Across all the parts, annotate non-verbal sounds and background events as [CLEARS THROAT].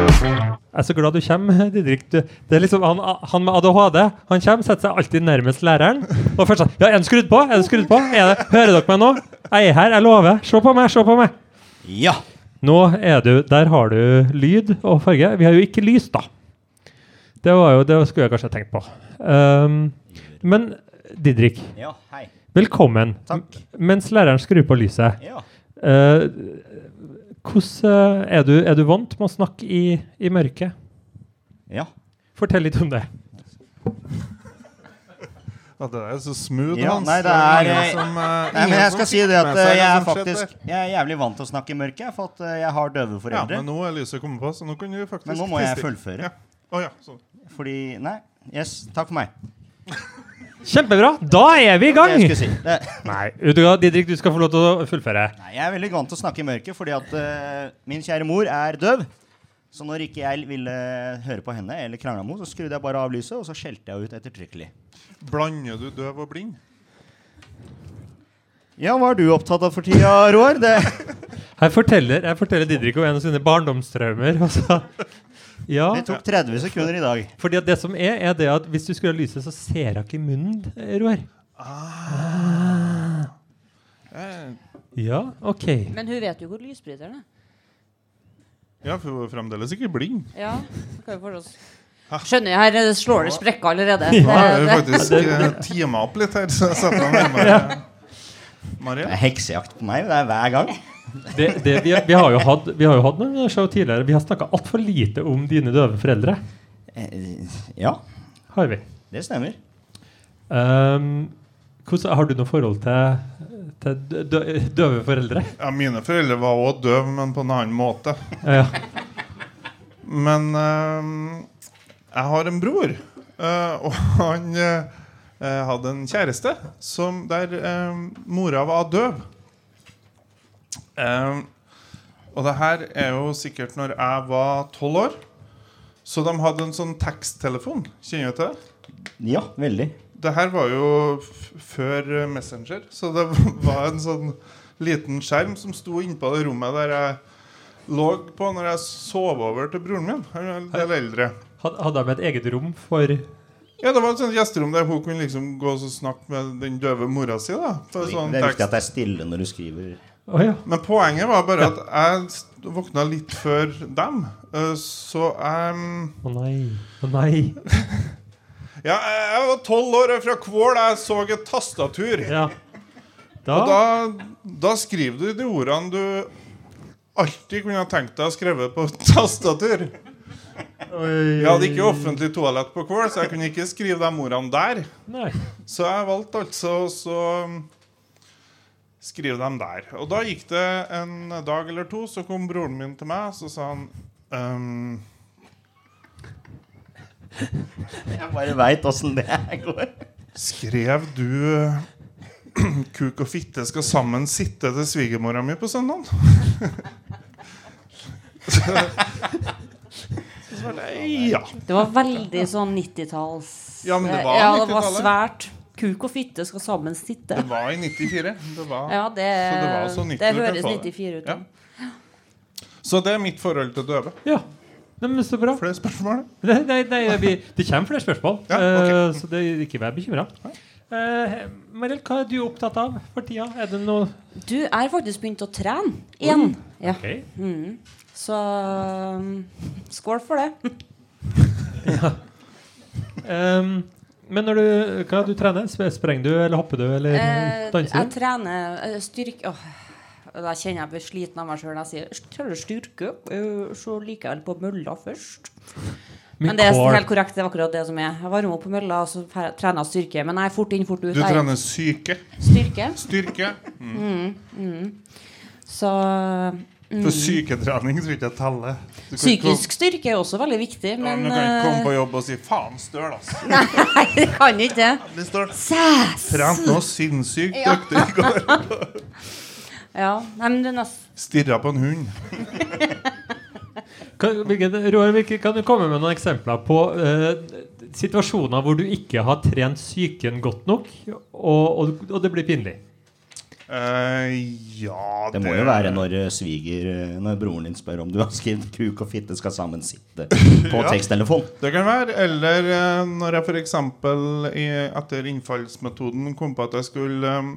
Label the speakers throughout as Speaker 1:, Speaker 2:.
Speaker 1: er så glad du kommer, [LAUGHS] Didrik. Du, det er liksom han, han med ADHD han kommer, setter seg alltid nærmest læreren. Og først sånn Ja, er den skrudd på? Er den skrudd på? Er det, hører dere meg nå? Jeg er her, jeg lover. Se på meg, se på meg.
Speaker 2: Ja.
Speaker 1: Nå er du Der har du lyd og farge. Vi har jo ikke lys, da. Det var jo Det skulle jeg kanskje tenkt på. Ehm, men Didrik,
Speaker 2: Ja, hei.
Speaker 1: velkommen.
Speaker 2: Takk.
Speaker 1: M- Mens læreren skrur på lyset,
Speaker 2: Ja.
Speaker 1: eh, hvordan eh, er du, er du vant med å snakke i, i mørket?
Speaker 2: Ja.
Speaker 1: Fortell litt om det.
Speaker 3: Ja, det er så smooth,
Speaker 2: Ja,
Speaker 3: Hans.
Speaker 2: nei, det
Speaker 3: er
Speaker 2: er,
Speaker 3: ingen
Speaker 2: eh,
Speaker 3: som, eh,
Speaker 2: Nei,
Speaker 3: ingen
Speaker 2: men jeg
Speaker 3: som
Speaker 2: skal si
Speaker 3: fikk
Speaker 2: det at
Speaker 3: med
Speaker 2: eh,
Speaker 3: seg
Speaker 2: jeg
Speaker 3: det
Speaker 2: er
Speaker 3: som skjedde
Speaker 2: faktisk
Speaker 3: der.
Speaker 2: Jeg er jævlig vant til å snakke i mørket, for at eh, jeg har døve
Speaker 3: Ja,
Speaker 2: foreldre.
Speaker 3: men nå er lyset kommet på, så nå kan du faktisk
Speaker 2: Men nå må
Speaker 3: [LAUGHS]
Speaker 2: jeg
Speaker 3: tisse.
Speaker 2: fullføre.
Speaker 3: Ja. Å ja, sånn.
Speaker 2: Fordi Nei. Yes, takk for meg.
Speaker 1: Kjempebra! Da er vi i gang!
Speaker 2: Det jeg skulle si. Det,
Speaker 1: Nei, vet du hva, Didrik, du skal få lov til å fullføre.
Speaker 2: nei, jeg er veldig vant til å snakke i mørket fordi at eh, min kjære mor er døv. Så når ikke jeg ville høre på henne eller krangla med henne, så skrudde jeg bare av lyset, og så skjelte jeg ut ettertrykkelig.
Speaker 3: Blander du døv og blind?
Speaker 2: Ja, hva er du opptatt av for tida, Roar? Det
Speaker 1: Jeg forteller, jeg forteller Didrik om en av sine barndomstraumer. [LAUGHS] og så- Ja.
Speaker 2: Det tok 30 sekunder i dag.
Speaker 1: Fordi at det som er, er det at hvis du skulle ha lyset, så ser hun ikke i munnen, eh, Roar.
Speaker 3: Eh,
Speaker 1: Ja, OK.
Speaker 4: Men hun vet jo hvor lysbryteren er.
Speaker 3: Ja, for hun er fremdeles ikke blind.
Speaker 4: Ja, det kan jo forstås. Skjønner jeg, her eh, slår det sprekker allerede. Det-
Speaker 3: Nå har vi
Speaker 4: det-
Speaker 3: faktisk eh, tima opp litt her, så jeg setter meg nærmere.
Speaker 2: Det
Speaker 3: Marie?
Speaker 2: er heksejakt på meg. Det er hver gang.
Speaker 1: Det, det, vi, vi har jo hatt, vi har jo hatt noen show tidligere. Vi har snakka altfor lite om dine døve foreldre.
Speaker 2: Eh, Ja,
Speaker 1: Har vi.
Speaker 2: det stemmer.
Speaker 1: Ehm, hvordan, har du noe forhold til, til dø, dø, døve [LAUGHS] foreldre?
Speaker 3: Ja, mine foreldre var òg døve, men på en annen måte.
Speaker 1: Ja.
Speaker 3: Men eh, jeg har en bror, eh, og [LAUGHS] han eh, eh, hadde en kjæreste som, der eh, mora var døv. Eh, og det her er jo sikkert når jeg var tolv år. Så de hadde en sånn teksttelefon. Kjenner du til det?
Speaker 2: Ja, veldig.
Speaker 3: Det her var jo f før eh, Messenger, så det [LAUGHS] var en sånn liten skjerm som sto innpå det rommet der jeg lå på når jeg sov over til broren min. Han er en del eldre.
Speaker 1: Had- Hadde de et eget rom for
Speaker 3: Ja, Det var et sånt gjesterom der hun kunne liksom gå og så snakke med den døve mora si. da på sånn
Speaker 2: Det er viktig
Speaker 3: tekst.
Speaker 2: at det er stille når du skriver.
Speaker 1: Å ja.
Speaker 3: Men poenget var bare at jeg st- våkna litt før dem, eh, så jeg
Speaker 1: Å nei. Å nei.
Speaker 3: Ja, jeg jeg var tolv år og er fra Kvål. Jeg så et tastatur.
Speaker 1: Ja.
Speaker 3: Og
Speaker 1: Da,
Speaker 3: da, da skriver du de ordene du alltid kunne ha tenkt deg å skrive på [LAUGHS] tastatur.
Speaker 1: Oi.
Speaker 3: Jeg hadde ikke offentlig toalett på Kvål, så jeg kunne ikke skrive de ordene der.
Speaker 1: Nei.
Speaker 3: Så jeg valgte altså å så skrive dem der. Og da gikk det en dag eller to, så kom broren min til meg, så sa han «Ehm,
Speaker 2: Jeg bare veit åssen det her går.
Speaker 3: Skrev du eh, [CLEARS THROAT] 'Kuk og fitte skal sammen sitte' til svigermora mi på
Speaker 2: [LAUGHS]
Speaker 3: søndag? så svarte jeg ja.
Speaker 4: Det var veldig sånn 90-talls
Speaker 3: Ja, men det var
Speaker 4: ja, det var
Speaker 3: 90-tallet.
Speaker 4: svært. Kuk og fitte skal sammen sitte.
Speaker 3: Det var i 94. Det var.
Speaker 4: Ja, det,
Speaker 3: Så det var altså 90
Speaker 4: det
Speaker 3: du kan
Speaker 4: høres
Speaker 3: få det.
Speaker 4: 94 ut.
Speaker 3: Ja.
Speaker 4: Ja.
Speaker 3: Så det er mitt forhold til døve.
Speaker 1: Ja. Nei, men så bra.
Speaker 3: Flere spørsmål?
Speaker 1: Nei, nei, nei vi, det kommer flere spørsmål,
Speaker 3: Ja,
Speaker 1: eh,
Speaker 3: ok.
Speaker 1: så det, ikke vær bekymra. Uh, Mariell, hva er du opptatt av for tida? Er det noe
Speaker 4: Du er faktisk begynt å trene igjen. Ja.
Speaker 1: Ok.
Speaker 4: Mm. Så um, skål for
Speaker 3: [LAUGHS]
Speaker 4: det.
Speaker 1: Ehm, men når du, hva du trener du? Sprenger du, eller hopper du, eller
Speaker 4: Eh, jeg
Speaker 1: danser du?
Speaker 4: trener eh, styrke Åh, Da kjenner jeg jeg blir sliten av meg sjøl når jeg sier tør styrke. eh, Så liker jeg vel på mølla først. Men det er sånn
Speaker 1: Kål.
Speaker 4: helt korrekt. Det er akkurat det som er. Jeg varmer opp på mølla og så fer- trener jeg styrke. Men jeg er fort inn, fort ut.
Speaker 3: Du
Speaker 4: jeg.
Speaker 3: trener syke.
Speaker 4: Styrke.
Speaker 3: Styrke.
Speaker 4: Så
Speaker 3: For syketrening tror jeg ikke jeg teller. Du kan ikke
Speaker 4: Mm. psykisk styrke er også veldig viktig,
Speaker 3: komme- ja,
Speaker 4: men
Speaker 3: men du kan ikke komme
Speaker 4: eh,
Speaker 3: på jobb og si 'faen, støl', altså.
Speaker 4: [LAUGHS] Nei, det kan ikke det.
Speaker 3: Det står
Speaker 4: Sæs!
Speaker 3: Trent noe sinnssykt dyktig i går.
Speaker 4: Ja, nei, men det er nest...
Speaker 3: Stirra på en hund.
Speaker 1: Kan, hvilket, Roar, hvilke, kan du komme med noen eksempler på eh, situasjoner hvor du ikke har trent psyken godt nok, og, og, og det blir pinlig?
Speaker 3: Eh, ja
Speaker 2: Det må jo være når eh, sviger eh, Når broren din spør om du har skrevet 'kuk og fitte skal sammen
Speaker 3: [LAUGHS]
Speaker 2: sitte' på
Speaker 3: Ja.
Speaker 2: teksttelefon.
Speaker 3: Det kan være. Eller eh, når jeg f.eks. etter innfallsmetoden kom på at jeg skulle eh,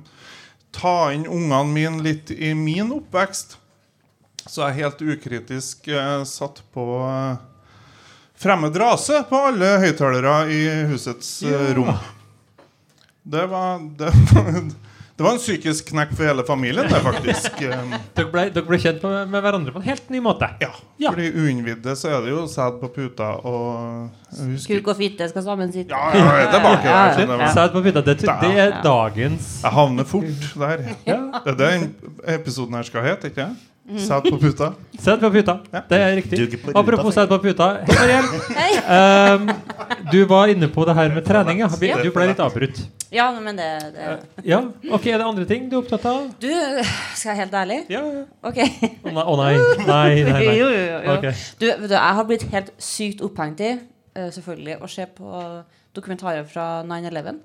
Speaker 3: ta inn ungene mine litt i min oppvekst, så jeg helt ukritisk eh, satt på eh, fremmed rase på alle høyttalere i husets eh, rom. Det var, det, [LAUGHS] var, det var en psykisk knekk for hele familien, det, faktisk. eh.
Speaker 1: Dere ble, dere ble kjent med, med hverandre på en helt ny måte.
Speaker 3: Ja,
Speaker 1: Ja.
Speaker 3: fordi uinnvidde så er det jo sæd på puta og jeg husker
Speaker 4: Kuk og fitte skal sammen sitte.
Speaker 3: Ja, ja, jeg er tilbake. Jeg, skjønner det.
Speaker 1: Sæd på puta. Det, det er dagens
Speaker 3: jeg havner fort der. Det er det den episoden her skal hete, ikke sant? Sæd på puta.
Speaker 1: Sæd på puta. Det er
Speaker 2: Duger
Speaker 1: riktig.
Speaker 2: på ruta,
Speaker 1: Apropos sæd på puta. Hei, Mariell.
Speaker 4: Hei.
Speaker 1: Ehm, du var inne på det her med trening. Ja. Vi- Du ble litt avbrutt.
Speaker 4: Ja, men det, det.
Speaker 1: Ja, ok, Er det andre ting du er opptatt av?
Speaker 4: Du, skal jeg være helt ærlig?
Speaker 1: Ja, ja.
Speaker 4: Ok.
Speaker 1: Å nei, å nei. Nei, nei, nei.
Speaker 4: [LAUGHS] Jo, jo, jo. jo.
Speaker 1: Ok.
Speaker 4: Du, vet du, jeg har blitt helt sykt opphengt i, eh, selvfølgelig, å se på dokumentarer fra 9-11.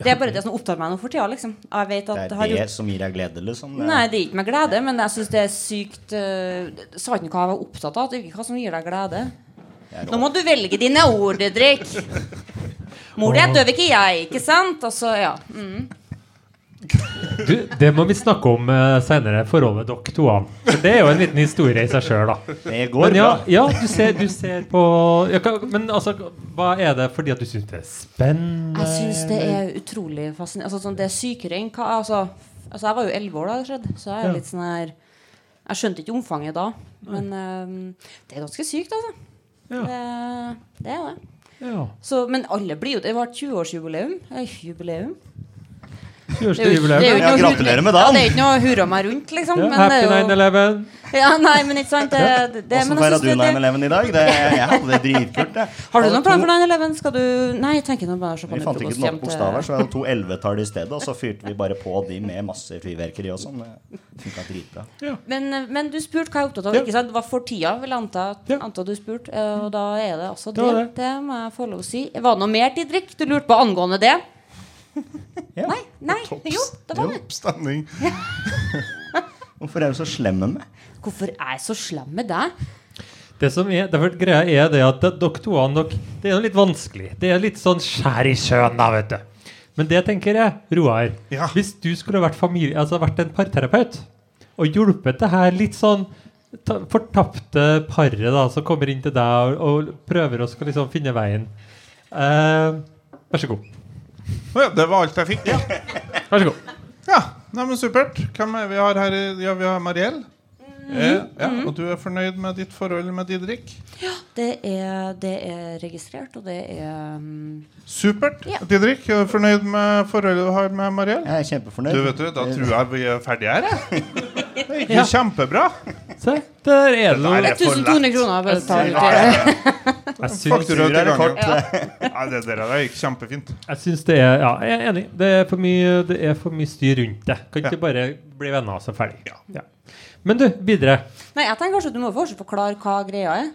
Speaker 4: Det er bare det som opptar meg nå for tida, liksom. Jeg vet at
Speaker 2: Det
Speaker 4: det
Speaker 2: er
Speaker 4: har
Speaker 2: det
Speaker 4: gjort
Speaker 2: som gir deg glede, liksom. Det-
Speaker 4: Nei, det gir ikke meg glede, men jeg syns det er sykt eh, Sa ikke hva jeg var opptatt av? Det er ikke hva som gir deg glede.
Speaker 2: det er
Speaker 4: Nå må du velge dine ord, Didrik. Mor di er døv, ikke jeg, ikke sant? Altså, ja. Mm.
Speaker 1: Du, det må vi snakke om uh, seinere, forholdet dere to. an. For Det er jo en liten historie i seg sjøl, da.
Speaker 2: Det går
Speaker 1: Men ja,
Speaker 2: bra.
Speaker 1: ja du, ser, du ser på ja, hva- Men altså, hva er det fordi at du syns det er spennende?
Speaker 4: Jeg syns det er utrolig fascinerende. Altså, sånn, det er sykere enn hva altså, altså, jeg var jo elleve år da det skjedde, så
Speaker 1: Ja.
Speaker 4: jeg er litt sånn her Jeg skjønte ikke omfanget da, men eh, det er ganske sykt, altså.
Speaker 1: Ja.
Speaker 4: Det, det er det.
Speaker 1: Ja.
Speaker 4: Så, men alle blir jo Det var et 20-årsjubileum. Eh, jubileum. Det er jo- det er jo
Speaker 1: Tjursdagsjubileum.
Speaker 4: ikke noe
Speaker 2: Ja,
Speaker 4: hurra-
Speaker 2: gratulerer med dagen.
Speaker 4: Ja, det er jo ikke noe hurra meg rundt, liksom.
Speaker 1: Ja,
Speaker 4: men
Speaker 1: happy
Speaker 4: det er jo,
Speaker 1: 9-11.
Speaker 4: ja, nei, men ikke sant. Det, det, det,
Speaker 2: Åssen
Speaker 4: men jeg
Speaker 2: feira
Speaker 4: synes
Speaker 2: du
Speaker 4: det, det,
Speaker 2: 9-11 i dag? Det, jeg hadde det dritkult. jeg.
Speaker 4: [LAUGHS] har du
Speaker 2: Hadde
Speaker 4: noen plan
Speaker 2: to-
Speaker 4: for 9-11? Skal du Nei, jeg tenker nå bare å eh. se på
Speaker 2: Vi
Speaker 4: nytt
Speaker 2: fant ikke
Speaker 4: frokost
Speaker 2: nok
Speaker 4: hjem til-
Speaker 2: bokstaver, så vi hadde to 11-tall i stedet. Og så fyrte vi bare på de med masse fyrverkeri og sånn. Det funka dritbra.
Speaker 4: Men, men du spurte hva jeg er opptatt av.
Speaker 1: Ja.
Speaker 4: Ikke sant? Det var for tida, vil jeg anta,
Speaker 1: Ja.
Speaker 4: anta du spurte. eh, Og da er det altså
Speaker 1: Det
Speaker 4: det.
Speaker 1: var
Speaker 4: Det,
Speaker 1: det.
Speaker 4: må jeg få lov å si. Var det noe mer, Didrik? Du lurte på angående det?
Speaker 2: Ja.
Speaker 4: Nei? nei, Jo, det var det.
Speaker 3: Topp stemning.
Speaker 2: Hvorfor er du så slem med meg?
Speaker 4: Hvorfor er jeg så slem med deg?
Speaker 1: Det som er, derfor greia er det at dere to an, dere, Det er jo litt vanskelig. Det er litt sånn skjær i sjøen, da, vet du. Men det tenker jeg, Roar
Speaker 3: Ja.
Speaker 1: Hvis du skulle vært, familie, altså vært en parterapeut og hjulpet det her litt sånn ta, fortapte paret da, som kommer inn til deg og, og prøver å skal liksom finne veien eh, Vær så god.
Speaker 3: Å ja, det var alt jeg fikk. Ja.
Speaker 1: Vær så god.
Speaker 3: ja. Nei, men supert. Hvem er vi har her? i- Ja, vi har Mariell. Eh, ja, og du er fornøyd med ditt forhold med Didrik?
Speaker 4: Det er, det er registrert, og det er mm,
Speaker 3: Supert.
Speaker 4: Ja.
Speaker 3: Didrik, er du fornøyd med forholdet du har med Mariell?
Speaker 2: Jeg er kjempefornøyd.
Speaker 3: Du vet du, Da tror jeg vi er ferdige her. jeg. Det gikk
Speaker 1: Ja.
Speaker 3: jo kjempebra.
Speaker 1: Se, der er det
Speaker 3: Der
Speaker 1: noe.
Speaker 3: er for
Speaker 4: 1200 kroner. Bare ta ut
Speaker 3: Ja,
Speaker 4: det.
Speaker 1: Jeg syns-
Speaker 3: Faktura
Speaker 2: Faktura
Speaker 3: til
Speaker 2: eller
Speaker 3: gangen.
Speaker 2: kort?
Speaker 3: Nei, det der det gikk kjempefint.
Speaker 1: Jeg syns det er Ja, jeg er enig. Det er for mye, det er for mye styr rundt det. Kan ikke bare bli venner og så ferdig. Ja. Men du, videre.
Speaker 4: Nei, jeg tenker kanskje du må fortsatt forklare hva greia er.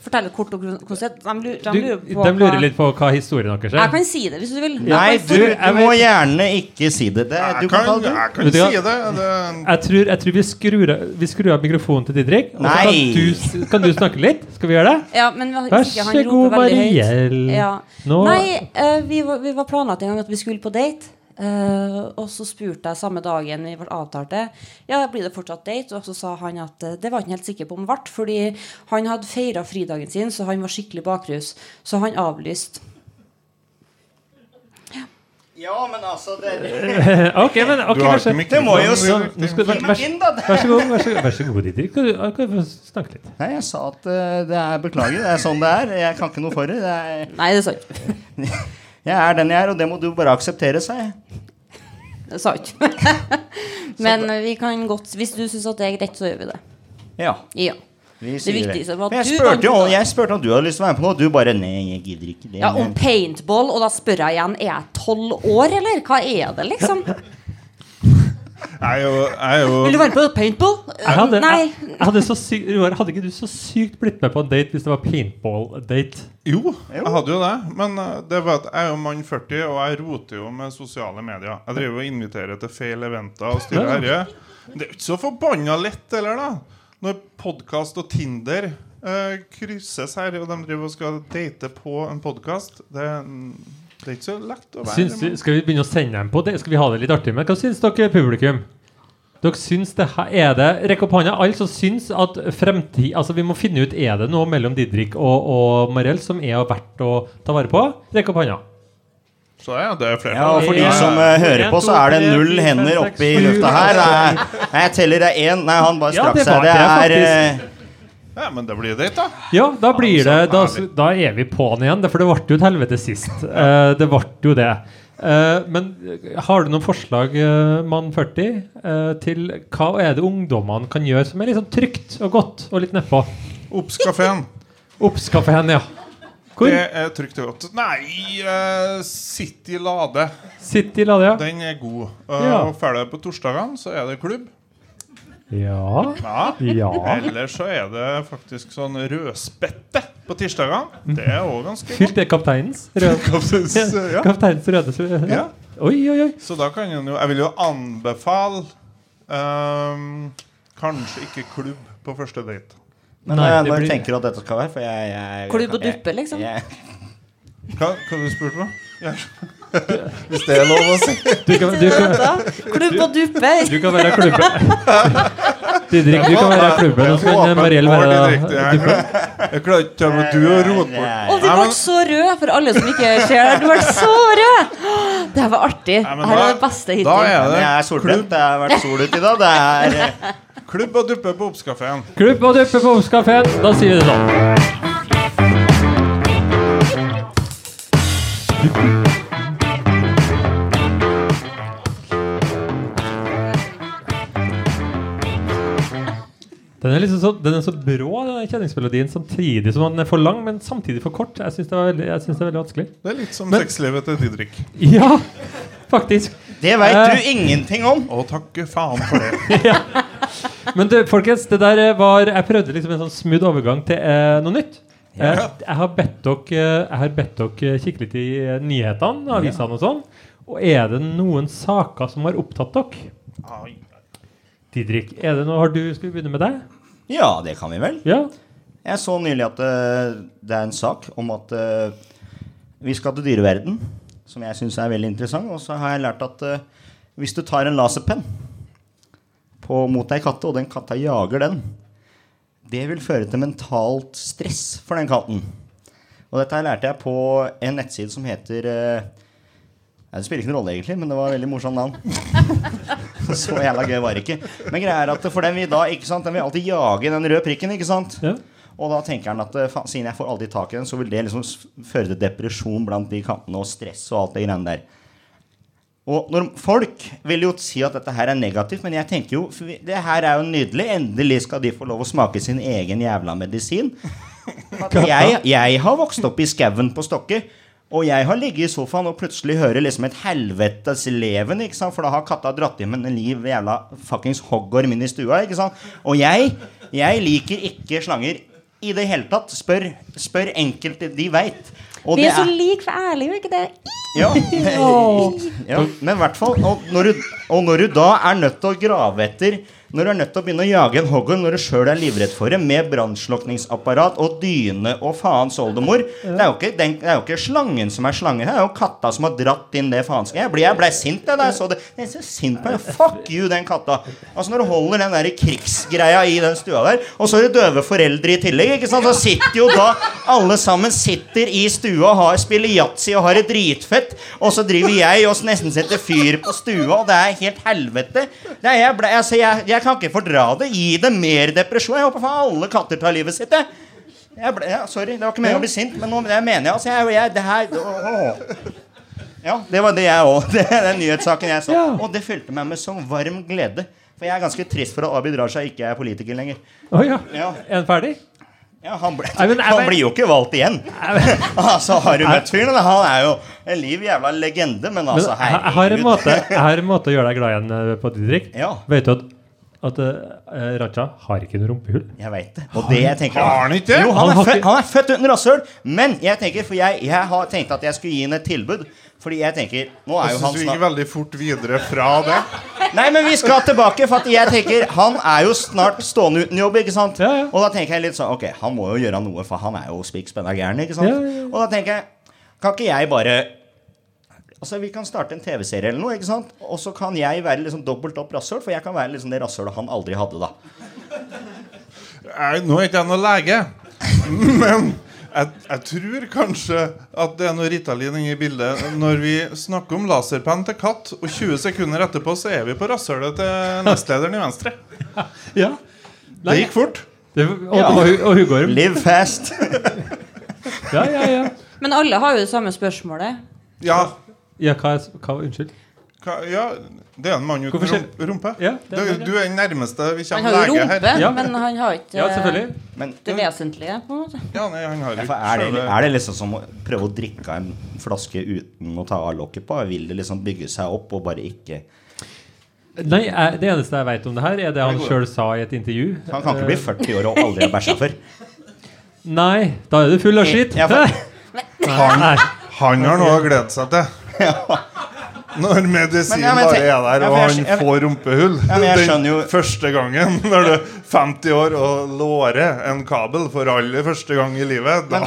Speaker 4: Fortelle kort og grunn- konsert. De, lu- de
Speaker 1: Du,
Speaker 4: lurer
Speaker 1: de
Speaker 4: på
Speaker 1: lurer
Speaker 4: hva-
Speaker 1: litt på hva historien deres
Speaker 4: Jeg
Speaker 1: er.
Speaker 4: kan si det, hvis du vil.
Speaker 2: Nei, du,
Speaker 1: jeg
Speaker 2: du må
Speaker 1: vet-
Speaker 2: gjerne ikke si det. det Eh, du kan
Speaker 3: Jeg kan,
Speaker 2: ta det.
Speaker 3: jeg kan
Speaker 1: Vet du
Speaker 3: si
Speaker 1: hva?
Speaker 3: det. eh, det
Speaker 1: Jeg tror, jeg tror vi, skrur, av- vi skrur av mikrofonen til Didrik. Og så kan
Speaker 2: Nei.
Speaker 1: du, s- kan du snakke litt? Skal vi gjøre det?
Speaker 4: Ja, men hvis
Speaker 1: Vær
Speaker 4: ikke han
Speaker 1: så
Speaker 4: roper
Speaker 1: god,
Speaker 4: veldig høyt.
Speaker 1: Mariell.
Speaker 4: Ja.
Speaker 1: Nå-
Speaker 4: Nei, eh, vi, var, vi var planlagt en gang at vi skulle på date. eh, og så spurte jeg samme dagen vi ble avtalt det, ja, blir det fortsatt date. Og så sa han at eh, det var han ikke helt sikker på om det ble, fordi han hadde feira fridagen sin, så han var skikkelig bakrus. Så han avlyste.
Speaker 2: Ja, men altså det,
Speaker 1: [LAUGHS] Ok, men ok,
Speaker 3: du
Speaker 1: vær
Speaker 3: har
Speaker 1: så
Speaker 3: ikke
Speaker 1: god.
Speaker 2: Det må jo
Speaker 1: Ja,
Speaker 3: mikrofonen.
Speaker 1: nå skal du- Vær
Speaker 2: inn, da!
Speaker 1: vær så god, vær så god, vær så god Didrik. Kan du, kan du få snakke litt?
Speaker 2: Nei, jeg sa at eh, det er Beklager, det er sånn det er. Jeg kan ikke noe for det. det er, [LAUGHS]
Speaker 4: Nei, det sa jeg ikke.
Speaker 2: jeg er den jeg er, og det må du bare akseptere, sa jeg.
Speaker 4: Det sa jeg ikke. [LAUGHS] men eh, vi kan godt Hvis du syns at det er greit, så gjør vi det.
Speaker 2: Ja.
Speaker 4: Ja.
Speaker 2: Vi
Speaker 4: Det viktigste var at
Speaker 2: Men jeg
Speaker 4: du
Speaker 2: spurte
Speaker 4: vant
Speaker 2: jo
Speaker 4: ut, da.
Speaker 2: jeg spurte om du hadde lyst til å være med på noe, og du bare Nei, jeg gidder ikke det.
Speaker 4: Ja, om paintball, og da spør jeg igjen Er jeg tolv år, eller? Hva er det, liksom?
Speaker 3: jeg er jo, jeg er
Speaker 4: Vil du
Speaker 3: jo
Speaker 4: være med på paintball?
Speaker 1: Jeg hadde,
Speaker 4: Nei.
Speaker 1: jeg, jeg hadde, så syk, Roar, hadde ikke du så sykt blitt med på en date hvis det var paintball-date?
Speaker 3: Jo, jeg hadde jo det. Men eh, det var at jeg er jo mann 40, og jeg roter jo med sosiale medier. Jeg driver og inviterer til feil eventer og styrer herre. Det er jo ikke så forbanna lett, eller da? Når podkast og Tinder eh, krysses her, og de driver og skal date på en podkast det, det er ikke så lett å være
Speaker 1: Syns, du- skal vi begynne å sende dem på det? Skal vi ha det litt artig med? Hva syns dere, publikum? Dere syns det her, er det, Rekk opp hånda alle som syns at fremtid Altså Vi må finne ut er det noe mellom Didrik og, og Mariell som er verdt å ta vare på. Rekk opp hånda.
Speaker 3: Så ja, det er flere.
Speaker 2: Ja, og for de
Speaker 1: Ja.
Speaker 2: som eh, hører
Speaker 1: En,
Speaker 2: på,
Speaker 1: to,
Speaker 2: så er det
Speaker 1: tre,
Speaker 2: null
Speaker 1: fire, fem,
Speaker 2: hender
Speaker 1: seks,
Speaker 2: oppe i
Speaker 1: sju.
Speaker 2: lufta her. Nei, Nei, jeg teller det er én. Nei, han bare
Speaker 1: Ja,
Speaker 2: strakk
Speaker 1: det var
Speaker 2: seg. Det
Speaker 1: det,
Speaker 2: er eh,
Speaker 3: Ja, men det blir date, da.
Speaker 1: Ja, da blir det da,
Speaker 3: herlig.
Speaker 1: da er vi på'n igjen. det- For det ble jo et helvete sist. Eh, det ble jo det. Eh, men har du noen forslag, eh, mann 40, eh, til hva er det ungdommene kan gjøre som er litt sånn trygt og godt og litt nedpå?
Speaker 3: Obs-kafeen.
Speaker 1: Ops, kaffen, ja. Hvor?
Speaker 3: Det er trygt og godt. Nei, eh, City Lade.
Speaker 1: Sitt i Ladia.
Speaker 3: Den er god. Eh,
Speaker 1: Ja.
Speaker 3: Og Følger du på torsdagene, så er det klubb.
Speaker 1: Ja.
Speaker 3: Ja.
Speaker 1: Ja.
Speaker 3: Eller så er det faktisk sånn rødspette på tirsdagene.
Speaker 1: Mm.
Speaker 3: Det er òg ganske godt.
Speaker 1: Fylt er kapteinens
Speaker 3: [LAUGHS]
Speaker 1: røde
Speaker 3: Ja.
Speaker 1: Kapteinens røde ja.
Speaker 3: Ja.
Speaker 1: Oi, oi, oi.
Speaker 3: Så da kan en jo Jeg vil jo anbefale ehm, kanskje ikke klubb på første date.
Speaker 2: Men
Speaker 1: Nei,
Speaker 2: eh,
Speaker 1: det
Speaker 2: når
Speaker 1: blir-
Speaker 2: du tenker at dette skal være for jeg, jeg,
Speaker 4: Klubb og
Speaker 2: jeg-
Speaker 4: duppe, liksom?
Speaker 2: jeg-
Speaker 3: Hva, hva du spurte du om?
Speaker 2: Hvis det er lov
Speaker 3: [LAUGHS]
Speaker 2: å si.
Speaker 1: Du kan, du kan,
Speaker 4: Klubb og duppe.
Speaker 1: du kan være klubben. Didrik, du kan være klubben, og så kan
Speaker 3: Åpent
Speaker 1: Mariell
Speaker 3: mål,
Speaker 1: være
Speaker 3: Didrik, det er- [LAUGHS] Jeg klarer ikke til med du og rote bort.
Speaker 4: Og du ble så rød, for alle som ikke ser deg. Du ble så rød! [GASPS] Åh, Det her var artig.
Speaker 3: Nei,
Speaker 4: Det
Speaker 3: men
Speaker 4: her
Speaker 3: da-
Speaker 4: var det beste
Speaker 3: Da
Speaker 4: hittil.
Speaker 3: er
Speaker 2: Men jeg
Speaker 3: det
Speaker 2: er solbrent. Det har vært sol ute i dag. Det er eh,
Speaker 3: klubb og duppe på Obskafeen.
Speaker 1: Klubb og duppe på Omskafeen. Da sier vi det sånn. Den er liksom så, den er så brå, den der kjenningsmelodien, samtidig som den er for lang, men samtidig for kort. Jeg syns det, var veldig- jeg synes det er veldig vanskelig.
Speaker 3: Det er litt som
Speaker 1: Men-
Speaker 3: sexlivet til Didrik.
Speaker 1: Ja, faktisk.
Speaker 2: Det veit
Speaker 1: Eh.
Speaker 2: du ingenting om.
Speaker 3: Å, takk faen for det.
Speaker 1: Men du, folkens, det der eh, var Jeg prøvde liksom en sånn smooth overgang til eh, noe nytt. Eh, jeg har bedt dere Jeg har bedt dere kikke litt i eh, nyhetene, avisene og sånn. Og er det noen saker som har opptatt dere?
Speaker 3: Ai.
Speaker 1: Didrik, er det noe, har du, skal vi begynne med deg?
Speaker 2: Ja, det kan vi vel.
Speaker 1: Ja?
Speaker 2: Jeg så nylig at eh, det er en sak om at eh, vi skal til dyreverden, som jeg syns er veldig interessant. Og så har jeg lært at eh, hvis du tar en laserpenn på, mot ei katte, og den katta jager den, det vil føre til mentalt stress for den katten. Og dette her lærte jeg på en nettside som heter eh, Nei, Det spiller ikke noen rolle, egentlig, men det var et veldig morsomt navn. [LAUGHS] Så jævla gøy var det ikke. Men greia er at for den vil da, ikke sant, den vil alltid jage den røde prikken, ikke sant?
Speaker 1: ja.
Speaker 2: Og da tenker han at eh, faen, siden jeg får aldri tak i den, så vil det liksom s- føre til depresjon blant de kattene og stress og alt det greiene der. Og når Folk vil jo si at dette her er negativt, men jeg tenker jo for vi- det her er jo nydelig. Endelig skal de få lov å smake sin egen jævla
Speaker 4: [LAUGHS]
Speaker 2: medisin. At Jeg, jeg har vokst opp i skauen på Stokke, og jeg har ligget i sofaen og plutselig hører liksom et helvetes leven, ikke sant? for da har katta dratt hjem en liv jævla fuckings hoggorm inn i stua. ikke sant? Og jeg, jeg liker ikke slanger i det hele tatt. Spør, spør enkelte, de veit. Og
Speaker 4: Vi
Speaker 2: det
Speaker 4: er så
Speaker 2: er-
Speaker 4: like, for ærlige, gjør vi ikke det? [LAUGHS]
Speaker 2: ja. ja. Men i hvert fall og når, du, og når du da er nødt til å grave etter Når du er nødt til å begynne å jage en hoggorm når du sjøl er livredd for det, med brannslukningsapparat og dyne og faens oldemor det, er jo ikke, den, det er jo ikke slangen som er slangen, her, det er jo katta som har dratt inn det faenskapet. Jeg, ble- jeg blei sint jeg, da jeg så det. Jeg er så sint på den. Fuck you, den katta. Altså Når du holder den der krigsgreia i den stua der, og så er det døve foreldre i tillegg, ikke sant? så sitter jo da alle sammen sitter i stua og har, spiller yatzy og har det dritfett, og så driver jeg og nesten setter fyr på stua, og det er helt helvete. Det er, jeg, ble, altså, jeg, jeg kan ikke fordra det. Gi det mer depresjon. Jeg håper faen alle katter tar livet sitt, jeg. jeg ble, ja, sorry, det var ikke meningen å bli sint, men nå, det mener jeg. Altså, jeg, jeg det her åh. Ja, det var det jeg òg. [LAUGHS] Det er den nyhetssaken jeg så.
Speaker 1: Ja.
Speaker 2: Og det fylte meg med sånn varm glede. For jeg er ganske trist for at Abid Raja ikke er politiker lenger.
Speaker 1: Å ja.
Speaker 2: Ja.
Speaker 1: Er den ferdig?
Speaker 2: Ja, han, ble,
Speaker 1: Nei, men-
Speaker 2: han
Speaker 1: men-
Speaker 2: blir jo ikke valgt
Speaker 1: [LAUGHS]
Speaker 2: igjen. [LAUGHS] altså, Har du møtt fyren? Han er jo en liv jævla legende, men
Speaker 1: Men
Speaker 2: altså,
Speaker 1: jeg, jeg, har en måte, jeg har en måte å gjøre deg glad igjen eh, på, Didrik.
Speaker 2: Ja.
Speaker 1: Vet du at at eh, Raja har ikke noe rumpehull.
Speaker 2: Jeg veit det. Og det jeg tenker
Speaker 3: Har han ikke det?
Speaker 2: Jo,
Speaker 1: Han
Speaker 2: han er,
Speaker 1: har
Speaker 2: født,
Speaker 1: ikke-
Speaker 2: han er født uten rasshøl! Men jeg tenker, for jeg, jeg har tenkt at jeg skulle gi han et tilbud. Fordi jeg tenker Nå er
Speaker 3: Jeg
Speaker 2: jo han
Speaker 3: syns vi gikk
Speaker 2: snart
Speaker 3: veldig fort videre fra det.
Speaker 2: Nei, men vi skal tilbake, for at jeg tenker han er jo snart stående uten jobb, ikke sant?
Speaker 1: Ja, ja.
Speaker 2: Og da tenker jeg litt sånn Ok, han må jo gjøre noe, for han er jo spikk spenna gæren, ikke sant?
Speaker 1: Ja, ja, ja.
Speaker 2: Og da tenker jeg Kan ikke jeg bare Altså, Vi kan starte en TV-serie eller noe, ikke sant? og så kan jeg være liksom dobbelt opp rasshøl, for jeg kan være liksom det rasshølet han aldri hadde, da.
Speaker 3: Jeg, nå er ikke jeg noen lege, [LAUGHS] men jeg, jeg tror kanskje at det er noe Ritalin inne i bildet. Når vi snakker om laserpenn til katt, og 20 sekunder etterpå så er vi på rasshølet til nestlederen i Venstre.
Speaker 1: Ja.
Speaker 3: Det gikk fort.
Speaker 1: Det, og, og, og, og Hugorum.
Speaker 2: Live fast! [LAUGHS]
Speaker 1: Ja, ja, ja.
Speaker 4: Men alle har jo det samme spørsmålet.
Speaker 3: Ja,
Speaker 1: ja hva, er s- hva, unnskyld.
Speaker 3: hva, ja det er en mann uten
Speaker 1: Hvorfor
Speaker 3: rum,
Speaker 1: skjer-
Speaker 3: rumpe.
Speaker 1: Ja,
Speaker 3: du,
Speaker 1: det er en mann, ja.
Speaker 3: du er den nærmeste vi
Speaker 4: Han
Speaker 3: kommer
Speaker 4: har jo
Speaker 3: lege
Speaker 4: rumpe,
Speaker 3: her.
Speaker 1: Ja.
Speaker 4: men han har ikke
Speaker 1: Ja, selvfølgelig.
Speaker 2: Men
Speaker 4: det vesentlige. på en måte
Speaker 3: Ja, nei, han har
Speaker 2: Ja,
Speaker 3: jo
Speaker 2: for er, det,
Speaker 3: selve-
Speaker 2: er det liksom som å prøve å drikke av en flaske uten å ta av lokket på? Vil det liksom bygge seg opp og bare ikke
Speaker 1: Nei, jeg, Det eneste jeg vet om det her, er det han sjøl sa i et intervju.
Speaker 2: Han kan
Speaker 1: Eh.
Speaker 2: ikke bli 40 år og aldri ha bæsja før.
Speaker 1: Nei, da er du full av skitt.
Speaker 2: Ja, for-
Speaker 1: [LAUGHS] Nei.
Speaker 3: Han har noe å glede seg
Speaker 2: [LAUGHS]
Speaker 3: til. Når medisin
Speaker 2: Men, ja, men
Speaker 3: bare
Speaker 2: tenk-
Speaker 3: er
Speaker 2: ja, for
Speaker 3: der, og
Speaker 2: jeg
Speaker 3: han
Speaker 2: skj- jeg-
Speaker 3: får rumpehull
Speaker 2: Ja, men jeg
Speaker 3: Den
Speaker 2: skjønner jo-
Speaker 3: første gangen [LAUGHS] når du er 50 år og lårer en kabel for aller første gang i livet da.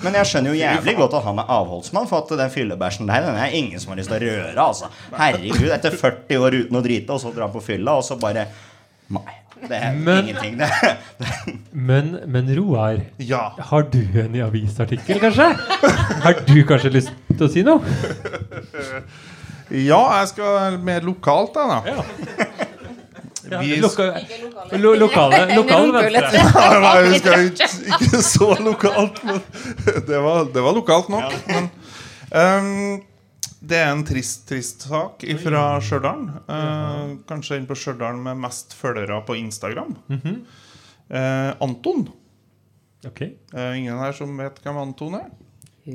Speaker 2: Men jeg skjønner jo jævlig godt at han er avholdsmann, for at den fyllebæsjen der den er ingen som har lyst til å røre. Altså. Herregud, etter 40 år uten å drite, og så dra på fylla, og så bare Nei. Det er
Speaker 1: Men-
Speaker 2: ingenting, det.
Speaker 1: Men, men Roar,
Speaker 3: Ja.
Speaker 1: har du en i avisartikkel, kanskje? Har du kanskje lyst til å si noe?
Speaker 3: ja, jeg skal være mer lokalt, da. da.
Speaker 1: Ja,
Speaker 3: Vi-
Speaker 1: loka, lo, lokale, lokale venstre.
Speaker 3: Ja, nei, vi skal ikke, ikke så lokalt, men [LAUGHS] det var, det var lokalt nok. Men, ehm, det er en trist, trist sak fra Stjørdal. Eh, kanskje den på Stjørdal med mest følgere på Instagram. Eh, Anton.
Speaker 1: Ok.
Speaker 3: Eh, ingen her som vet hvem Anton er?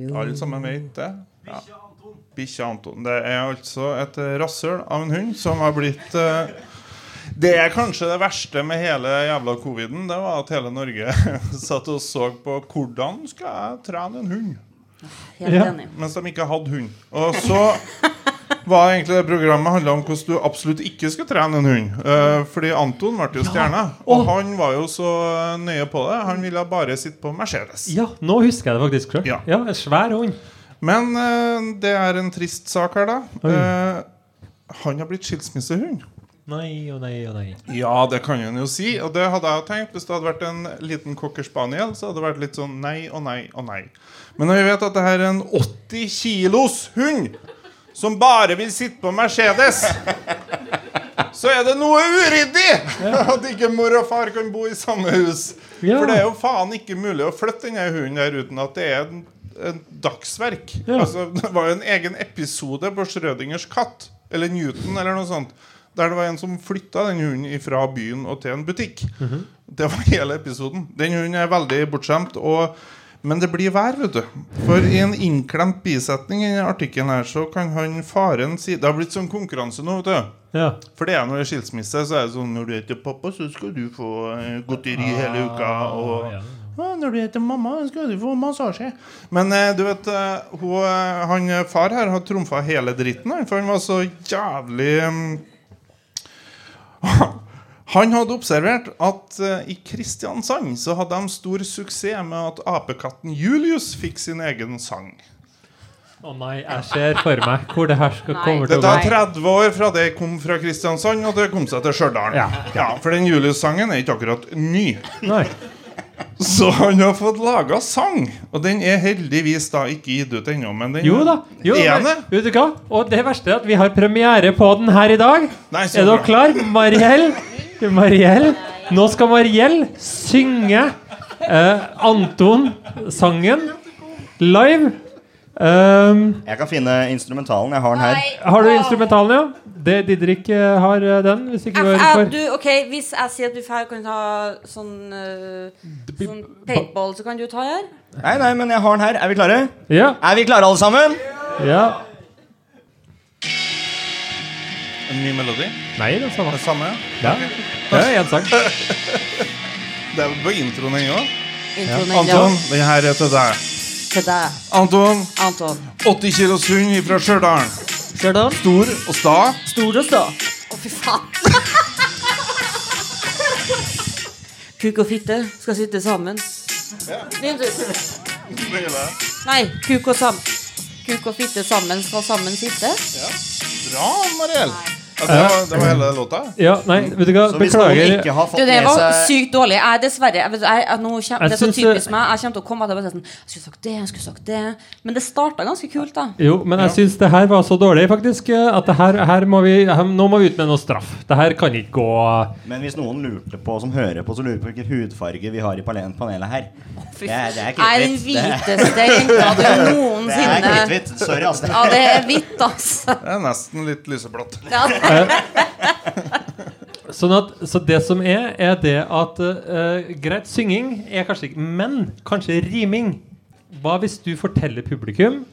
Speaker 3: Alle sammen vet det. Ja. Bikkja Anton. Det er altså et eh, rasshøl av en hund som har blitt eh, Det er kanskje det verste med hele jævla coviden. Det var at hele Norge [LAUGHS] satt og så på hvordan skal jeg trene en hund
Speaker 4: Helt
Speaker 1: Ja.
Speaker 4: enig.
Speaker 3: mens de ikke hadde hund. Og så var egentlig det programmet handla om hvordan du absolutt ikke skal trene en hund. Eh, fordi Anton ble jo stjerna, og han var jo så eh, nøye på det. Han ville bare sitte på Mercedes.
Speaker 1: Ja, nå husker jeg det faktisk sjøl.
Speaker 3: Ja.
Speaker 1: Ja, en svær hund.
Speaker 3: Men eh, det er en trist sak her, da. Eh, han har blitt skilsmissehund.
Speaker 1: Nei og nei og nei.
Speaker 3: Ja, det kan han jo si. Og det hadde jeg jo tenkt Hvis det hadde vært en liten cocker spaniel, så hadde det vært litt sånn nei og nei og nei. Men når vi vet at det her er en 80 kilos hund som bare vil sitte på Mercedes, så er det noe uryddig [LAUGHS] at ikke mor og far kan bo i samme hus.
Speaker 1: Ja.
Speaker 3: For det er jo faen ikke mulig å flytte denne hunden der uten at det er en, en dagsverk.
Speaker 1: Ja.
Speaker 3: Altså, det var jo en egen episode på Schrødingers katt, eller Newton, eller noe sånt, der det var en som flytta den hunden fra byen og til en butikk. Det var hele episoden. Den hunden er veldig bortskjemt. Og, men det blir vær, vet du. For i en innklemt bisetning i denne artikkelen her, så kan han faren si Det har blitt sånn konkurranse nå, vet du.
Speaker 1: Ja.
Speaker 3: For det er når det er skilsmisse, så er det sånn Når du heter pappa, så skal du få eh, godteri hele uka. Og
Speaker 1: ja.
Speaker 3: «Å, når du heter mamma, så skal du få massasje. Men eh, du vet, eh, hun, eh, han eh, far her har trumfa hele dritten, han, for han var så jævlig mm, [LAUGHS] Han hadde observert at eh, i Kristiansand så hadde de stor suksess med at apekatten Julius fikk sin egen sang.
Speaker 1: Å nei, jeg ser for meg hvor det her skal
Speaker 4: Nei.
Speaker 1: komme til å
Speaker 3: Dette
Speaker 1: gå.
Speaker 3: er 30 år fra det jeg kom fra Kristiansand, og det kom seg til Stjørdal.
Speaker 1: Ja.
Speaker 3: for den Julius-sangen er ikke akkurat ny.
Speaker 1: Nei.
Speaker 3: Så han har fått laga sang, og den er heldigvis da ikke gitt ut ennå. Men den
Speaker 1: Jo da. Jo,
Speaker 3: Er
Speaker 1: men,
Speaker 3: det?
Speaker 1: vet du hva? Og det verste er at vi har premiere på den her i dag.
Speaker 3: Nei, så
Speaker 1: er dere
Speaker 3: bra.
Speaker 1: klar? Mariell, Mariell. Nå skal Mariell synge eh, Anton-sangen live. Ehm,
Speaker 2: Jeg kan finne instrumentalen. Jeg har den her.
Speaker 1: har du instrumentalen, ja? Det Didrik eh, har eh, den. Hvis ikke du
Speaker 4: Jeg-
Speaker 1: har for.
Speaker 4: jeg- du, ok, Hvis jeg sier at du her kan ta sånn, eh, sånn paintball, så kan du ta her?
Speaker 2: Nei, nei, men jeg har den her. Er vi klare?
Speaker 1: Ja,
Speaker 2: Er vi klare, alle sammen?
Speaker 1: ja.
Speaker 3: En ny melodi?
Speaker 1: Nei, det er samme.
Speaker 3: Det samme?
Speaker 1: Ja. Det er én sang.
Speaker 3: Det er på introen ennå.
Speaker 4: Introen er
Speaker 3: Anton,
Speaker 4: lang
Speaker 3: den her er til deg.
Speaker 4: til deg,
Speaker 3: Anton,
Speaker 4: Anton.
Speaker 3: 80 kilos hund fra Stjørdal.
Speaker 4: Stjørdal.
Speaker 3: Stor og sta.
Speaker 4: Stor og stå. Å, fy faen. [LAUGHS] Kuk og fitte skal sitte sammen. Min tur.
Speaker 3: Bra,
Speaker 4: Nei, kuk og, sam kuk og fitte sammen skal sammen sitte.
Speaker 3: Mariell. Ja, det, var, det var hele låta.
Speaker 1: Ja, nei, vet du hva,
Speaker 2: Så hvis noen
Speaker 1: beklager.
Speaker 2: ikke har
Speaker 4: Du,
Speaker 2: fått
Speaker 4: det
Speaker 2: med
Speaker 4: var
Speaker 2: seg
Speaker 4: sykt dårlig. Jeg, dessverre. Jeg, vet- jeg, jeg, nå
Speaker 1: Jeg
Speaker 4: kjem, det er så
Speaker 1: syns det-
Speaker 4: typisk meg. Jeg kommer til å komme tilbake og si sånn Jeg skulle sagt det, jeg skulle sagt det. Men det starta ganske kult, da.
Speaker 1: Jo, men jeg syns det her var så dårlig, faktisk, eh, at det her, her må vi her, Nå må vi ut med noe straff. Det her kan ikke gå
Speaker 2: Men hvis noen lurte på, som hører på, så lurer på hvilken hudfarge vi har i palen- panelet her.
Speaker 4: Fy
Speaker 2: Det er, det er
Speaker 4: faen. Jeg er den
Speaker 2: kritthvitt. Det-
Speaker 4: hviteste jenta
Speaker 2: [LAUGHS]
Speaker 4: du
Speaker 2: Det er
Speaker 4: noensinne
Speaker 2: kritthvitt. Sorry, altså.
Speaker 4: Ja, det er hvitt, altså.
Speaker 3: Det er nesten litt lyseblått.
Speaker 4: Ja, det-
Speaker 1: Sånn at, Så det som er, er det at eh, Greit, synging er kanskje ikke Men kanskje riming. Hva hvis du forteller publikum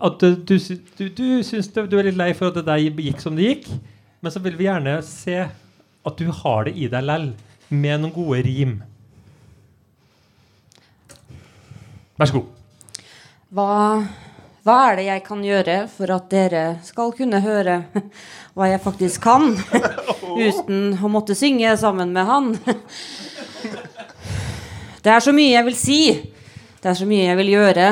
Speaker 1: at du, du, sy- du, du syns det- du er litt lei for at det der gikk som det gikk, men så vil vi gjerne se at du har det i deg lell, med noen gode rim. Vær så god.
Speaker 4: Hva, hva er det jeg kan gjøre for at dere skal kunne høre hva jeg faktisk kan, uten å måtte synge sammen med han? Det er så mye jeg vil si. Det er så mye jeg vil gjøre.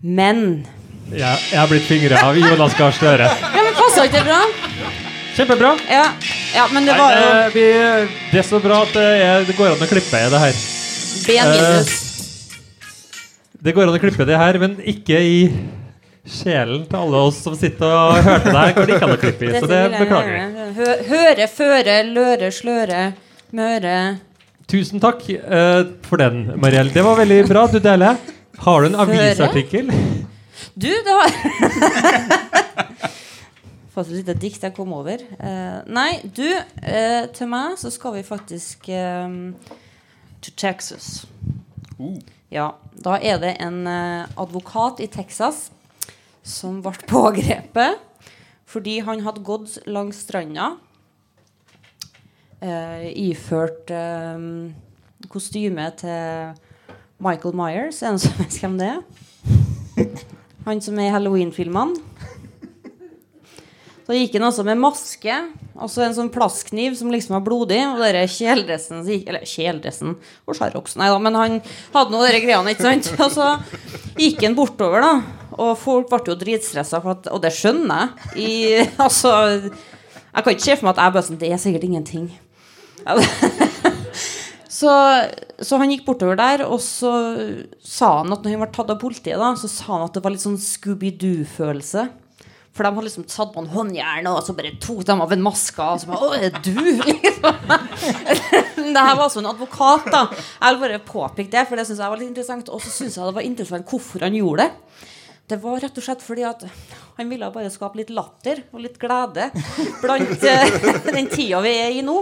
Speaker 4: Men
Speaker 1: Jeg, jeg har blitt fingra av Jonas Gahr Støre.
Speaker 4: Ja, men passa ikke det bra?
Speaker 1: Kjempebra.
Speaker 4: Ja. ja, men det
Speaker 1: Nei,
Speaker 4: var jo
Speaker 1: det, vi, det er så bra at det, er, det går an å klippe i det her.
Speaker 4: B
Speaker 1: Eh,
Speaker 4: minus.
Speaker 1: Det går an å klippe det her, men ikke i sjelen til alle oss som sitter og hørte det her. Går det ikke an å klippe i, så det
Speaker 4: Dette vil jeg
Speaker 1: beklager vi.
Speaker 4: gjerne. eh, Hø- Høre, føre, løre, sløre, møre
Speaker 1: Tusen takk eh, for den, Mariell. Det var veldig bra. Du deler. Har du en
Speaker 4: Føre?
Speaker 1: avisartikkel?
Speaker 4: Du, det var [LAUGHS] Fått et lite dikt jeg kom over. Eh, nei, du, eh, til meg så skal vi faktisk eh, to Texas. Ja. Da er det en eh, advokat i Texas som ble pågrepet fordi han hadde gått langs stranda eh, iført eh, kostyme til Michael Myers. Er det noen som vet hvem det er? Han som er i Halloween-filmene. Så gikk han også med maske og så en sånn plastkniv som liksom var blodig. Og dere kjeledressen så gikk- Eller kjeledressen og sjarroks, nei da, men han hadde nå dere greiene, ikke sant? [LAUGHS] Og så gikk han bortover, da. Og folk ble jo dritstressa, for at, og det skjønner jeg. I, [LAUGHS] altså, jeg kan ikke se for meg at jeg bare sånn Det er sikkert ingenting. Så, så han gikk bortover der, og så sa han at når han var tatt av politiet, da, så sa han at det var litt sånn Scooby-Doo-følelse. For de hadde liksom tatt på en håndjern, og så bare tok de av en maske. Og så bare, Å, er det du? Liksom. [LAUGHS] det her var altså en advokat, da. Jeg vil bare påpeke det, for det syns jeg var litt interessant. Og så syns jeg det var interessant hvorfor han gjorde det. Det var rett og slett fordi at han ville bare skape litt latter og litt glede blant eh, den tida vi er i nå.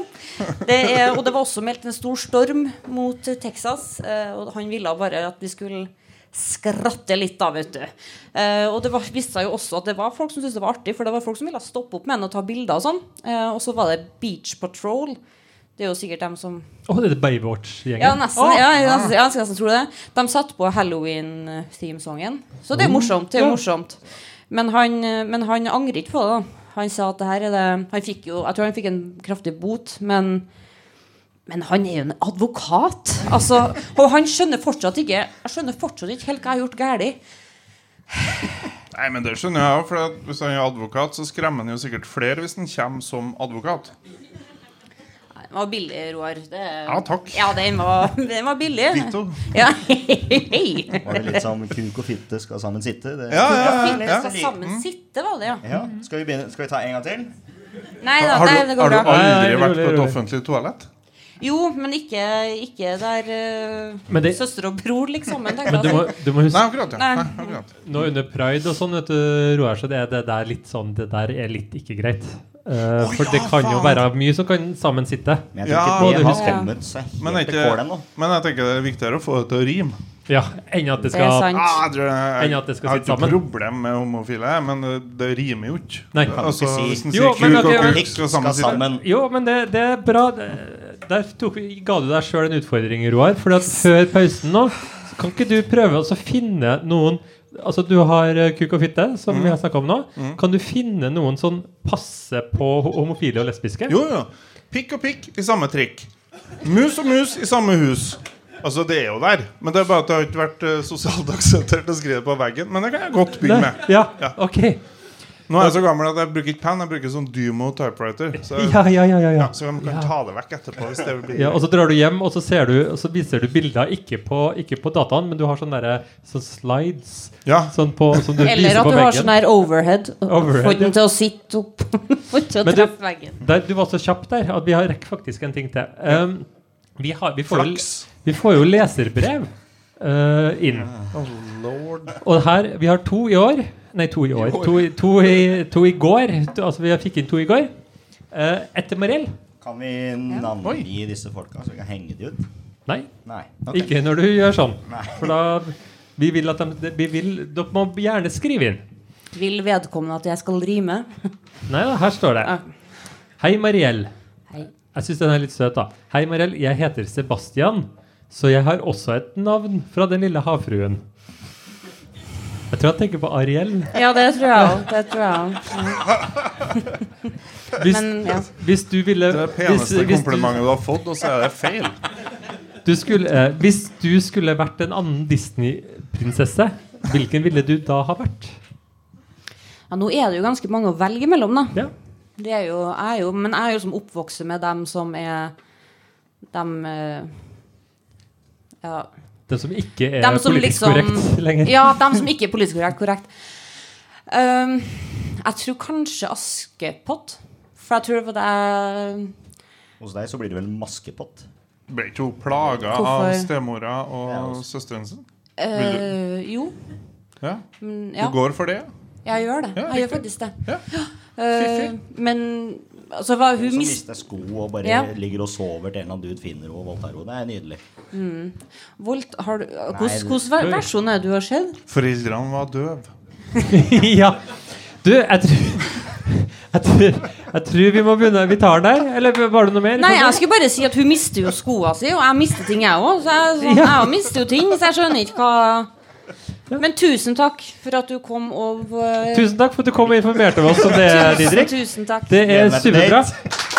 Speaker 4: Det er, og det var også meldt en stor storm mot eh, Texas, eh, og han ville bare at vi skulle skratte litt da, vet du. Eh, og det var, viste seg jo også at det var folk som syntes det var artig, for det var folk som ville stoppe opp med han og ta bilder og sånn. Eh, og så var det Beach Patrol. Det er jo sikkert dem som
Speaker 1: Å, det er Baywatch-gjengen.
Speaker 4: ja, nesten. Ja, jeg, nesten, jeg skulle nesten tro det. De satt på halloween-themesongen. Så det er morsomt. Det er morsomt. Men han, men han angrer ikke på det. da. Han sa at det her er det Han fikk jo Jeg tror han fikk en kraftig bot, men men han er jo en advokat. Altså, og han skjønner fortsatt ikke Jeg skjønner fortsatt ikke helt hva jeg har gjort galt.
Speaker 3: Nei, men Det skjønner jeg òg, for at hvis han er advokat, så skremmer han jo sikkert flere hvis han kommer som advokat.
Speaker 4: Den var billig, Roar. Det,
Speaker 3: Ja, takk.
Speaker 4: Ja, den var, den var billig.
Speaker 3: Vito.
Speaker 4: Ja. [LAUGHS]
Speaker 2: Var det litt som kuk og fitte skal sammen sitte? Det.
Speaker 3: Ja, ja, ja,
Speaker 4: Fint
Speaker 3: ja.
Speaker 4: skal sammen sitte, var det, ja.
Speaker 2: Ja. Skal, vi begynne? skal vi ta en gang til?
Speaker 4: Nei da,
Speaker 3: Har
Speaker 4: nei,
Speaker 3: du,
Speaker 4: det
Speaker 3: har
Speaker 4: går
Speaker 3: du
Speaker 4: bra.
Speaker 1: Nei,
Speaker 3: aldri
Speaker 1: nei,
Speaker 3: vært på
Speaker 1: rolig,
Speaker 3: et
Speaker 1: rolig.
Speaker 3: offentlig toalett?
Speaker 4: Jo, men ikke, ikke der eh,
Speaker 1: Men det-
Speaker 4: søster og bror, liksom. Men,
Speaker 1: Men du må, du må
Speaker 3: Nei,
Speaker 1: huske
Speaker 3: akkurat. ja.
Speaker 4: Nei.
Speaker 3: Nei, akkurat.
Speaker 1: Nå under pride og sånn, vet du, Roar, så det, er- det der litt sånn Det der er litt ikke greit. Eh,
Speaker 2: Å,
Speaker 1: for det
Speaker 2: ja,
Speaker 1: kan jo
Speaker 2: faen.
Speaker 1: være mye som kan sammen sitte.
Speaker 2: Men jeg
Speaker 3: Ja,
Speaker 2: tror ikke det
Speaker 1: det
Speaker 2: har
Speaker 1: husker
Speaker 4: jeg.
Speaker 2: kommet seg
Speaker 3: Men,
Speaker 2: helt
Speaker 3: er
Speaker 2: til kålen
Speaker 3: ikke,
Speaker 2: nå.
Speaker 3: men jeg tenker det er viktigere å få det til å rime.
Speaker 1: Ja, enn at det
Speaker 4: Det er
Speaker 1: skal
Speaker 4: sant.
Speaker 3: Ah, jeg tror jeg,
Speaker 1: Enn at det skal
Speaker 3: jeg
Speaker 1: sitte
Speaker 3: har ikke
Speaker 1: sammen.
Speaker 3: problem med homofile, jeg, men det, det rimer jo ikke.
Speaker 1: Nei.
Speaker 2: Kan du
Speaker 3: Altså,
Speaker 2: ikke si-
Speaker 3: hvis en
Speaker 1: Jo,
Speaker 3: sier
Speaker 1: men
Speaker 3: kuk
Speaker 1: ok,
Speaker 3: og
Speaker 1: men-
Speaker 3: kuk skal sammen sitte
Speaker 1: Jo, men det, det er bra. Det- Der tok, vi- ga du deg sjøl en utfordring, Roar. For at før pausen nå, så kan ikke du prøve å så finne noen Altså Du har eh, kuk og fitte, som vi har snakka om nå. Kan du finne noen som passer på ho- homofile og lesbiske?
Speaker 3: Jo, jo. Pikk og pikk i samme trikk. Mus og mus i samme hus. Altså, det er jo der. Men det er bare at det har ikke vært eh, sosialt akseptert å skrive det på veggen. Men det kan jeg godt begynne
Speaker 1: Nei,
Speaker 3: med.
Speaker 1: ja,
Speaker 3: Ja.
Speaker 1: ok.
Speaker 3: Nå er jeg så gammel at jeg bruker ikke penn, jeg bruker sånn Dymo typewriter. Så,
Speaker 1: Ja, ja, ja. ja, ja.
Speaker 3: ja, så man kan ta det vekk etterpå hvis det blir
Speaker 1: Ja, og så drar du hjem, og så, ser du, og så viser du bilder, ikke på, ikke på dataen, men du har sånne, derre- sånne slides
Speaker 3: Ja.
Speaker 1: sånn på, som du
Speaker 4: Eller
Speaker 1: viser
Speaker 4: at
Speaker 1: på
Speaker 4: du har sånn
Speaker 1: veggen.
Speaker 4: her overhead.
Speaker 1: [LAUGHS] Overhead,
Speaker 4: Få
Speaker 1: ja.
Speaker 4: den til å sitte opp. [LAUGHS] Få den til å
Speaker 1: Men du-
Speaker 4: treffe veggen.
Speaker 1: Der, du var så kjapp der at vi har rekker faktisk en ting til. Um, vi, har, vi, får jo,
Speaker 3: Flaks.
Speaker 1: vi får jo leserbrev eh, inn.
Speaker 3: Oh, lord.
Speaker 1: Og her, vi har to i år. Nei, to i år. To, i- to, i, to i går. To, altså, vi fikk inn to i går. Uh, etter Mariell?
Speaker 2: Kan vi navngi disse folka, så vi kan henge de ut?
Speaker 1: Nei.
Speaker 2: Nei. ok.
Speaker 1: Ikke når du gjør sånn.
Speaker 2: Nei.
Speaker 1: For da Vi vil at de, vi vil, Dere må gjerne skrive inn.
Speaker 4: Vil vedkommende at jeg skal rime? [LAUGHS]
Speaker 1: Nei da, her står det.
Speaker 4: Ja.
Speaker 1: Hei, Mariell.
Speaker 4: Hei.
Speaker 1: Jeg syns den er litt søt, da. Hei, Mariell. Jeg heter Sebastian, så jeg har også et navn fra Den lille havfruen. Jeg tror han tenker på Ariel.
Speaker 4: Ja, det tror jeg òg. Det tror jeg også.
Speaker 1: Hvis,
Speaker 4: Men ja.
Speaker 1: hvis du ville
Speaker 3: Det er det
Speaker 1: hvis,
Speaker 3: peneste
Speaker 1: hvis, du,
Speaker 3: komplimentet du har fått, og så er det feil.
Speaker 1: du skulle, eh, hvis du skulle vært en annen Disney-prinsesse, hvilken ville du da ha vært?
Speaker 4: ja, nå er det jo ganske mange å velge mellom, da.
Speaker 1: Ja.
Speaker 4: Det er jo, jeg er jo, men jeg er jo som oppvokser med dem som er Dem eh, ja,
Speaker 1: Den som ikke er
Speaker 4: Dem som
Speaker 1: politisk
Speaker 4: liksom-
Speaker 3: [LAUGHS]
Speaker 1: korrekt lenger.
Speaker 4: ja, dem som ikke er politisk korrekt. korrekt. Ehm, jeg tror kanskje Askepott. For jeg tror at jeg
Speaker 2: Hos deg så blir det vel maskepott.
Speaker 3: Ble ikke hun plaga av
Speaker 4: Hvorfor?
Speaker 3: stemora
Speaker 2: Ja,
Speaker 3: og
Speaker 2: også.
Speaker 3: søsteren sin?
Speaker 4: eh, Jo.
Speaker 3: Ja.
Speaker 4: men
Speaker 3: Du
Speaker 4: ja.
Speaker 3: går for det?
Speaker 4: Jeg gjør det.
Speaker 3: Ja,
Speaker 4: jeg gjør
Speaker 3: riktig.
Speaker 4: faktisk det.
Speaker 3: Ja.
Speaker 4: Eh, men altså, hva, hun
Speaker 2: Som
Speaker 4: mis-
Speaker 2: mister sko og bare
Speaker 4: Ja.
Speaker 2: ligger og sover til en eller annen dude finner henne og voldtar henne. Det er nydelig.
Speaker 4: Volt, har du,
Speaker 2: Nei,
Speaker 4: hvordan,
Speaker 2: det-
Speaker 4: hvordan ver- versjon er det du har sett?
Speaker 3: Foreldrene var døve.
Speaker 1: [LAUGHS] ja. Du, jeg tror, [LAUGHS] jeg, tror, jeg tror vi må begynne. Vi tar den der. Eller var det noe mer?
Speaker 4: Nei, jeg skulle bare si at hun mister jo skoene sine, og jeg mister ting, jeg òg. Så
Speaker 3: [LAUGHS]
Speaker 4: jeg, sånn, jeg også mister jo ting, så jeg skjønner ikke hva Men tusen takk for at du kom og eh,
Speaker 1: Tusen takk for at du kom og informerte oss om det, Didrik.
Speaker 4: tusen takk.
Speaker 1: Det er
Speaker 2: Gleder meg til
Speaker 1: superbra.